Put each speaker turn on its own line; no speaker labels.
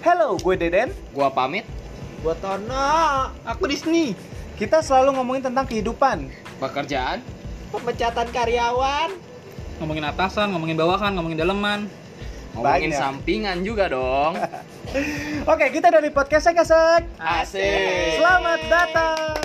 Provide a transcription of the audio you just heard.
Hello, gue Deden.
Gua pamit,
Buat Tono,
Aku Disney. Kita selalu ngomongin tentang kehidupan.
pekerjaan,
pemecatan karyawan.
ngomongin atasan, ngomongin bawahan, ngomongin daleman.
ngomongin
Banyak.
sampingan juga dong.
Oke, kita dari podcast Sekesek.
Asik.
Selamat datang.